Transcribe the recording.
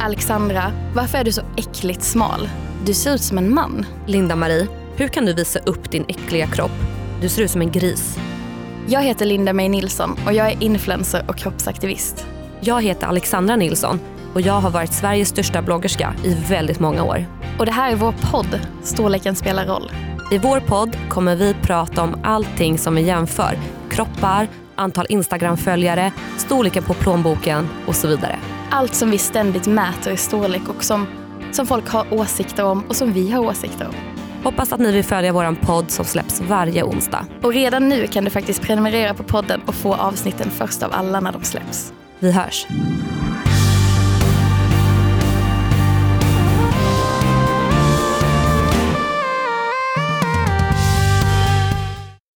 Alexandra, varför är du så äckligt smal? Du ser ut som en man. Linda-Marie, hur kan du visa upp din äckliga kropp? Du ser ut som en gris. Jag heter Linda May Nilsson och jag är influencer och kroppsaktivist. Jag heter Alexandra Nilsson och jag har varit Sveriges största bloggerska i väldigt många år. Och det här är vår podd, Storleken spelar roll. I vår podd kommer vi prata om allting som vi jämför. Kroppar, antal Instagram-följare, storleken på plånboken och så vidare. Allt som vi ständigt mäter i storlek och som, som folk har åsikter om och som vi har åsikter om. Hoppas att ni vill följa vår podd som släpps varje onsdag. Och redan nu kan du faktiskt prenumerera på podden och få avsnitten först av alla när de släpps. Vi hörs!